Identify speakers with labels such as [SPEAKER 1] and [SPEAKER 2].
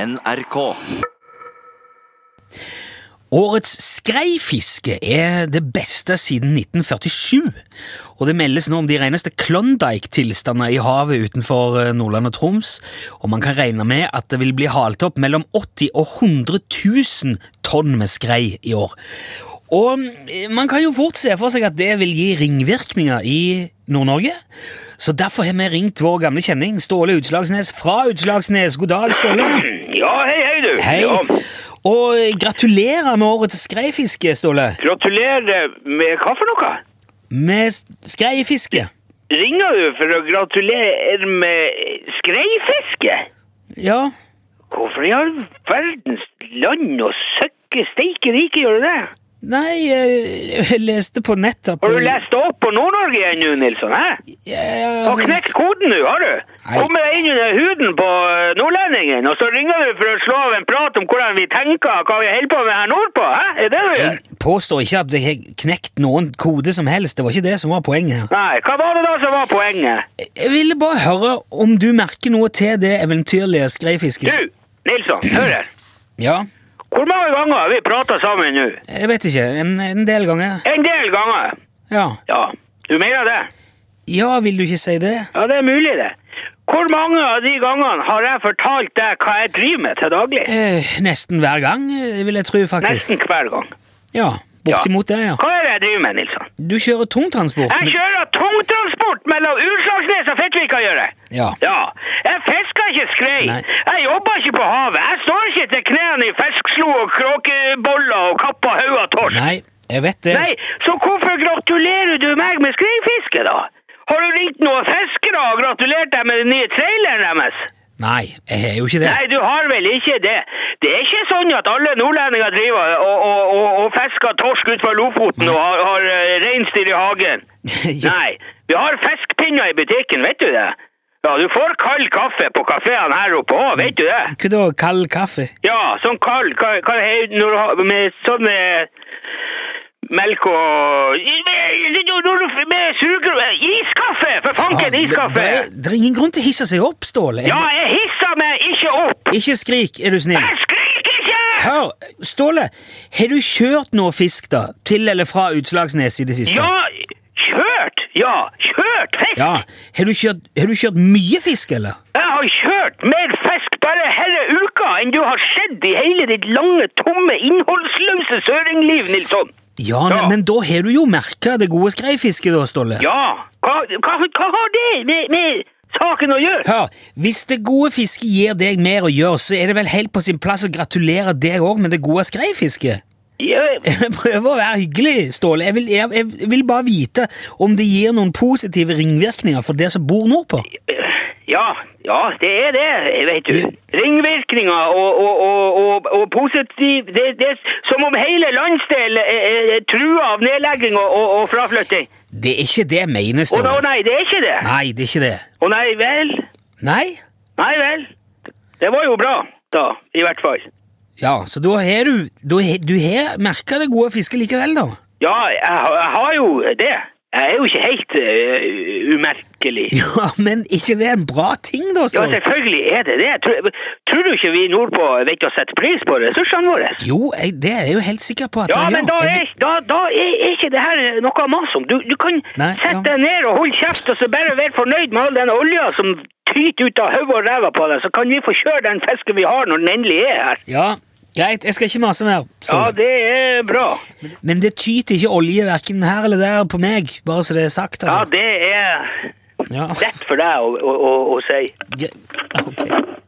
[SPEAKER 1] NRK.
[SPEAKER 2] Årets skreifiske er det beste siden 1947, og det meldes nå om de reneste Klondyke-tilstander i havet utenfor eh, Nordland og Troms, og man kan regne med at det vil bli halt opp mellom 80 og 100 000 tonn med skrei i år. Og eh, man kan jo fort se for seg at det vil gi ringvirkninger i Nord-Norge, så derfor har vi ringt vår gamle kjenning Ståle Utslagsnes fra Utslagsnes. God dag, Ståle!
[SPEAKER 3] Ja, hei, hei, du.
[SPEAKER 2] Hei,
[SPEAKER 3] Ja.
[SPEAKER 2] og gratulerer med årets skreifiske, Ståle.
[SPEAKER 3] Gratulerer med hva for noe?
[SPEAKER 2] Med s- skreifiske.
[SPEAKER 3] Ringer du for å gratulere med skreifiske?
[SPEAKER 2] Ja.
[SPEAKER 3] Hvorfor i all verdens land og søkke steike rike gjør du det?
[SPEAKER 2] Nei, eh, jeg leste på nett at
[SPEAKER 3] Har du lest deg opp på Nord-Norge igjen nå, Nilsson? Hæ?
[SPEAKER 2] Ja, ja,
[SPEAKER 3] Har
[SPEAKER 2] altså-
[SPEAKER 3] knekt koden nå, har du?
[SPEAKER 2] Nei.
[SPEAKER 3] Kommer deg inn under huden på eh, nordlendingen, og så ringer du for å slå av en prat om hvordan vi tenker, hva vi holder på med her nordpå? Hæ? Er det det du
[SPEAKER 2] jeg
[SPEAKER 3] gjør?
[SPEAKER 2] påstår ikke at jeg har knekt noen kode som helst. Det var ikke det som var poenget. her.
[SPEAKER 3] Nei, hva var det da som var poenget?
[SPEAKER 2] Jeg- Jeg ville bare høre om du merker noe til det eventyrlige skreifisket.
[SPEAKER 3] Du, Nilsson, hør her.
[SPEAKER 2] Ja,
[SPEAKER 3] Hvor mange ganger har vi prata sammen nå?
[SPEAKER 2] jeg vet ikke. En, en del ganger.
[SPEAKER 3] En del ganger.
[SPEAKER 2] Ja.
[SPEAKER 3] Ja, du mener det?
[SPEAKER 2] ja, vil du ikke si det?
[SPEAKER 3] Ja, det er mulig, det. Hvor mange av de gangene har jeg fortalt deg hva jeg driver med til daglig?
[SPEAKER 2] Eh, nesten hver gang, eh, vil jeg tro, faktisk.
[SPEAKER 3] Nesten hver gang.
[SPEAKER 2] Ja,
[SPEAKER 3] Ja.
[SPEAKER 2] bortimot det, ja.
[SPEAKER 3] Hva er det jeg driver med, Nilsson?
[SPEAKER 2] Du kjører tungtransport. men-
[SPEAKER 3] Jeg kjører tungtransport mellom Utslagsnes og Fettvika, gjør jeg.
[SPEAKER 2] Ja.
[SPEAKER 3] Ja. Jeg fisker ikke skrei.
[SPEAKER 2] Nei.
[SPEAKER 3] Jeg jobber ikke på havet. Jeg står ikke til knærne i feskslo og kråkeboller og kappa haug av torsk.
[SPEAKER 2] Nei, jeg vet det.
[SPEAKER 3] Nei, så hvorfor gratulerer du meg med skreifiske, da? Har du ringt noen fiskere og gratulert deg med den nye traileren deres?
[SPEAKER 2] Nei, jeg har jo ikke det.
[SPEAKER 3] Nei, du har vel ikke det. Det er ikke sånn at alle nordlendinger driver og, og, og, og fisker torsk ut fra Lofoten og har, har eh, reinsdyr i hagen.
[SPEAKER 2] Ja.
[SPEAKER 3] Nei, vi har fiskepinner i butikken, vet du det? Ja, du får kald kaffe på kafeene her oppe òg, vet du det?
[SPEAKER 2] Hva da, kald kaffe?
[SPEAKER 3] Ja, sånn kald hva, hva er det når du har med sånn eh, melk og med, når du, med suger Iskaffe! For
[SPEAKER 2] Ja,
[SPEAKER 3] fanken,
[SPEAKER 2] det-
[SPEAKER 3] iskaffe!
[SPEAKER 2] Det, er- det er ingen grunn til å hisse seg opp, Ståle. Jeg-
[SPEAKER 3] Ja, jeg hisser meg ikke opp!
[SPEAKER 2] Ikke skrik, er du snill.
[SPEAKER 3] Jeg skriker ikke!
[SPEAKER 2] Hør, Ståle, har du kjørt noe fisk da, til eller fra Utslagsnes i det siste?
[SPEAKER 3] Ja, kjørt! Ja, kjørt fisk!
[SPEAKER 2] Ja, har du kjørt, har du kjørt mye fisk, eller?
[SPEAKER 3] Jeg har kjørt mer fisk bare hele uka enn du har sett i hele ditt lange, tomme, innholdsløse søringliv, Nilsson!
[SPEAKER 2] Ja, men-
[SPEAKER 3] Ja.
[SPEAKER 2] men da har du jo merket det gode skreifisket da, Ståle.
[SPEAKER 3] Ja, hva, hva, hva har det med, med saken å gjøre?
[SPEAKER 2] Hør, hvis det gode fisket gir deg mer å gjøre, så er det vel helt på sin plass å gratulere deg også med det gode skreifisket?
[SPEAKER 3] Ja,
[SPEAKER 2] Jeg prøver å være hyggelig, Ståle. Jeg vil, jeg, jeg vil bare vite om det gir noen positive ringvirkninger for det som bor nordpå.
[SPEAKER 3] Ja, ja, det er det, vet du. Ringvirkninger og, og, og, og, og positiv det, det er som om hele landsdelen er, er, er trua av nedlegging og, og, og fraflytting.
[SPEAKER 2] Det er ikke det jeg mener,
[SPEAKER 3] Å
[SPEAKER 2] Ståle.
[SPEAKER 3] nei, det er ikke det.
[SPEAKER 2] Nei, det er ikke det.
[SPEAKER 3] Å nei vel.
[SPEAKER 2] Nei?
[SPEAKER 3] Nei vel. Det var jo bra, da. I hvert fall.
[SPEAKER 2] Ja, så da har du da har, Du har merka det gode fisket likevel, da?
[SPEAKER 3] Ja, jeg, har- jeg har jo det. Jeg er jo ikke helt eh, umerkelig.
[SPEAKER 2] Ja, men ikke det er en bra ting, da,
[SPEAKER 3] Ja,
[SPEAKER 2] Ståle?
[SPEAKER 3] selvfølgelig er det det. Tror, tror du ikke vi nordpå vet å sette pris på ressursene våre?
[SPEAKER 2] Jo, jeg, det er jeg jo helt sikker på at
[SPEAKER 3] Ja,
[SPEAKER 2] jeg
[SPEAKER 3] men
[SPEAKER 2] gjør.
[SPEAKER 3] da
[SPEAKER 2] Jeg-
[SPEAKER 3] er, da, da er ikke det her noe mas om. Du, du kan
[SPEAKER 2] Nei, ja.
[SPEAKER 3] sette deg ned og holde kjeft, og så bare være fornøyd med all den olja som tyter ut av hodet og ræva på deg, så kan vi få kjøre den fisken vi har når den endelig er her.
[SPEAKER 2] Ja, greit. Jeg skal ikke mase mer,
[SPEAKER 3] Ja,
[SPEAKER 2] Ståle.
[SPEAKER 3] det er bra.
[SPEAKER 2] Men det tyter ikke olje verken her eller der på meg, bare så det er sagt,
[SPEAKER 3] Ja,
[SPEAKER 2] altså.
[SPEAKER 3] det er
[SPEAKER 2] Ja,
[SPEAKER 3] lett for deg å, å, å, å si.
[SPEAKER 2] Gre- ok.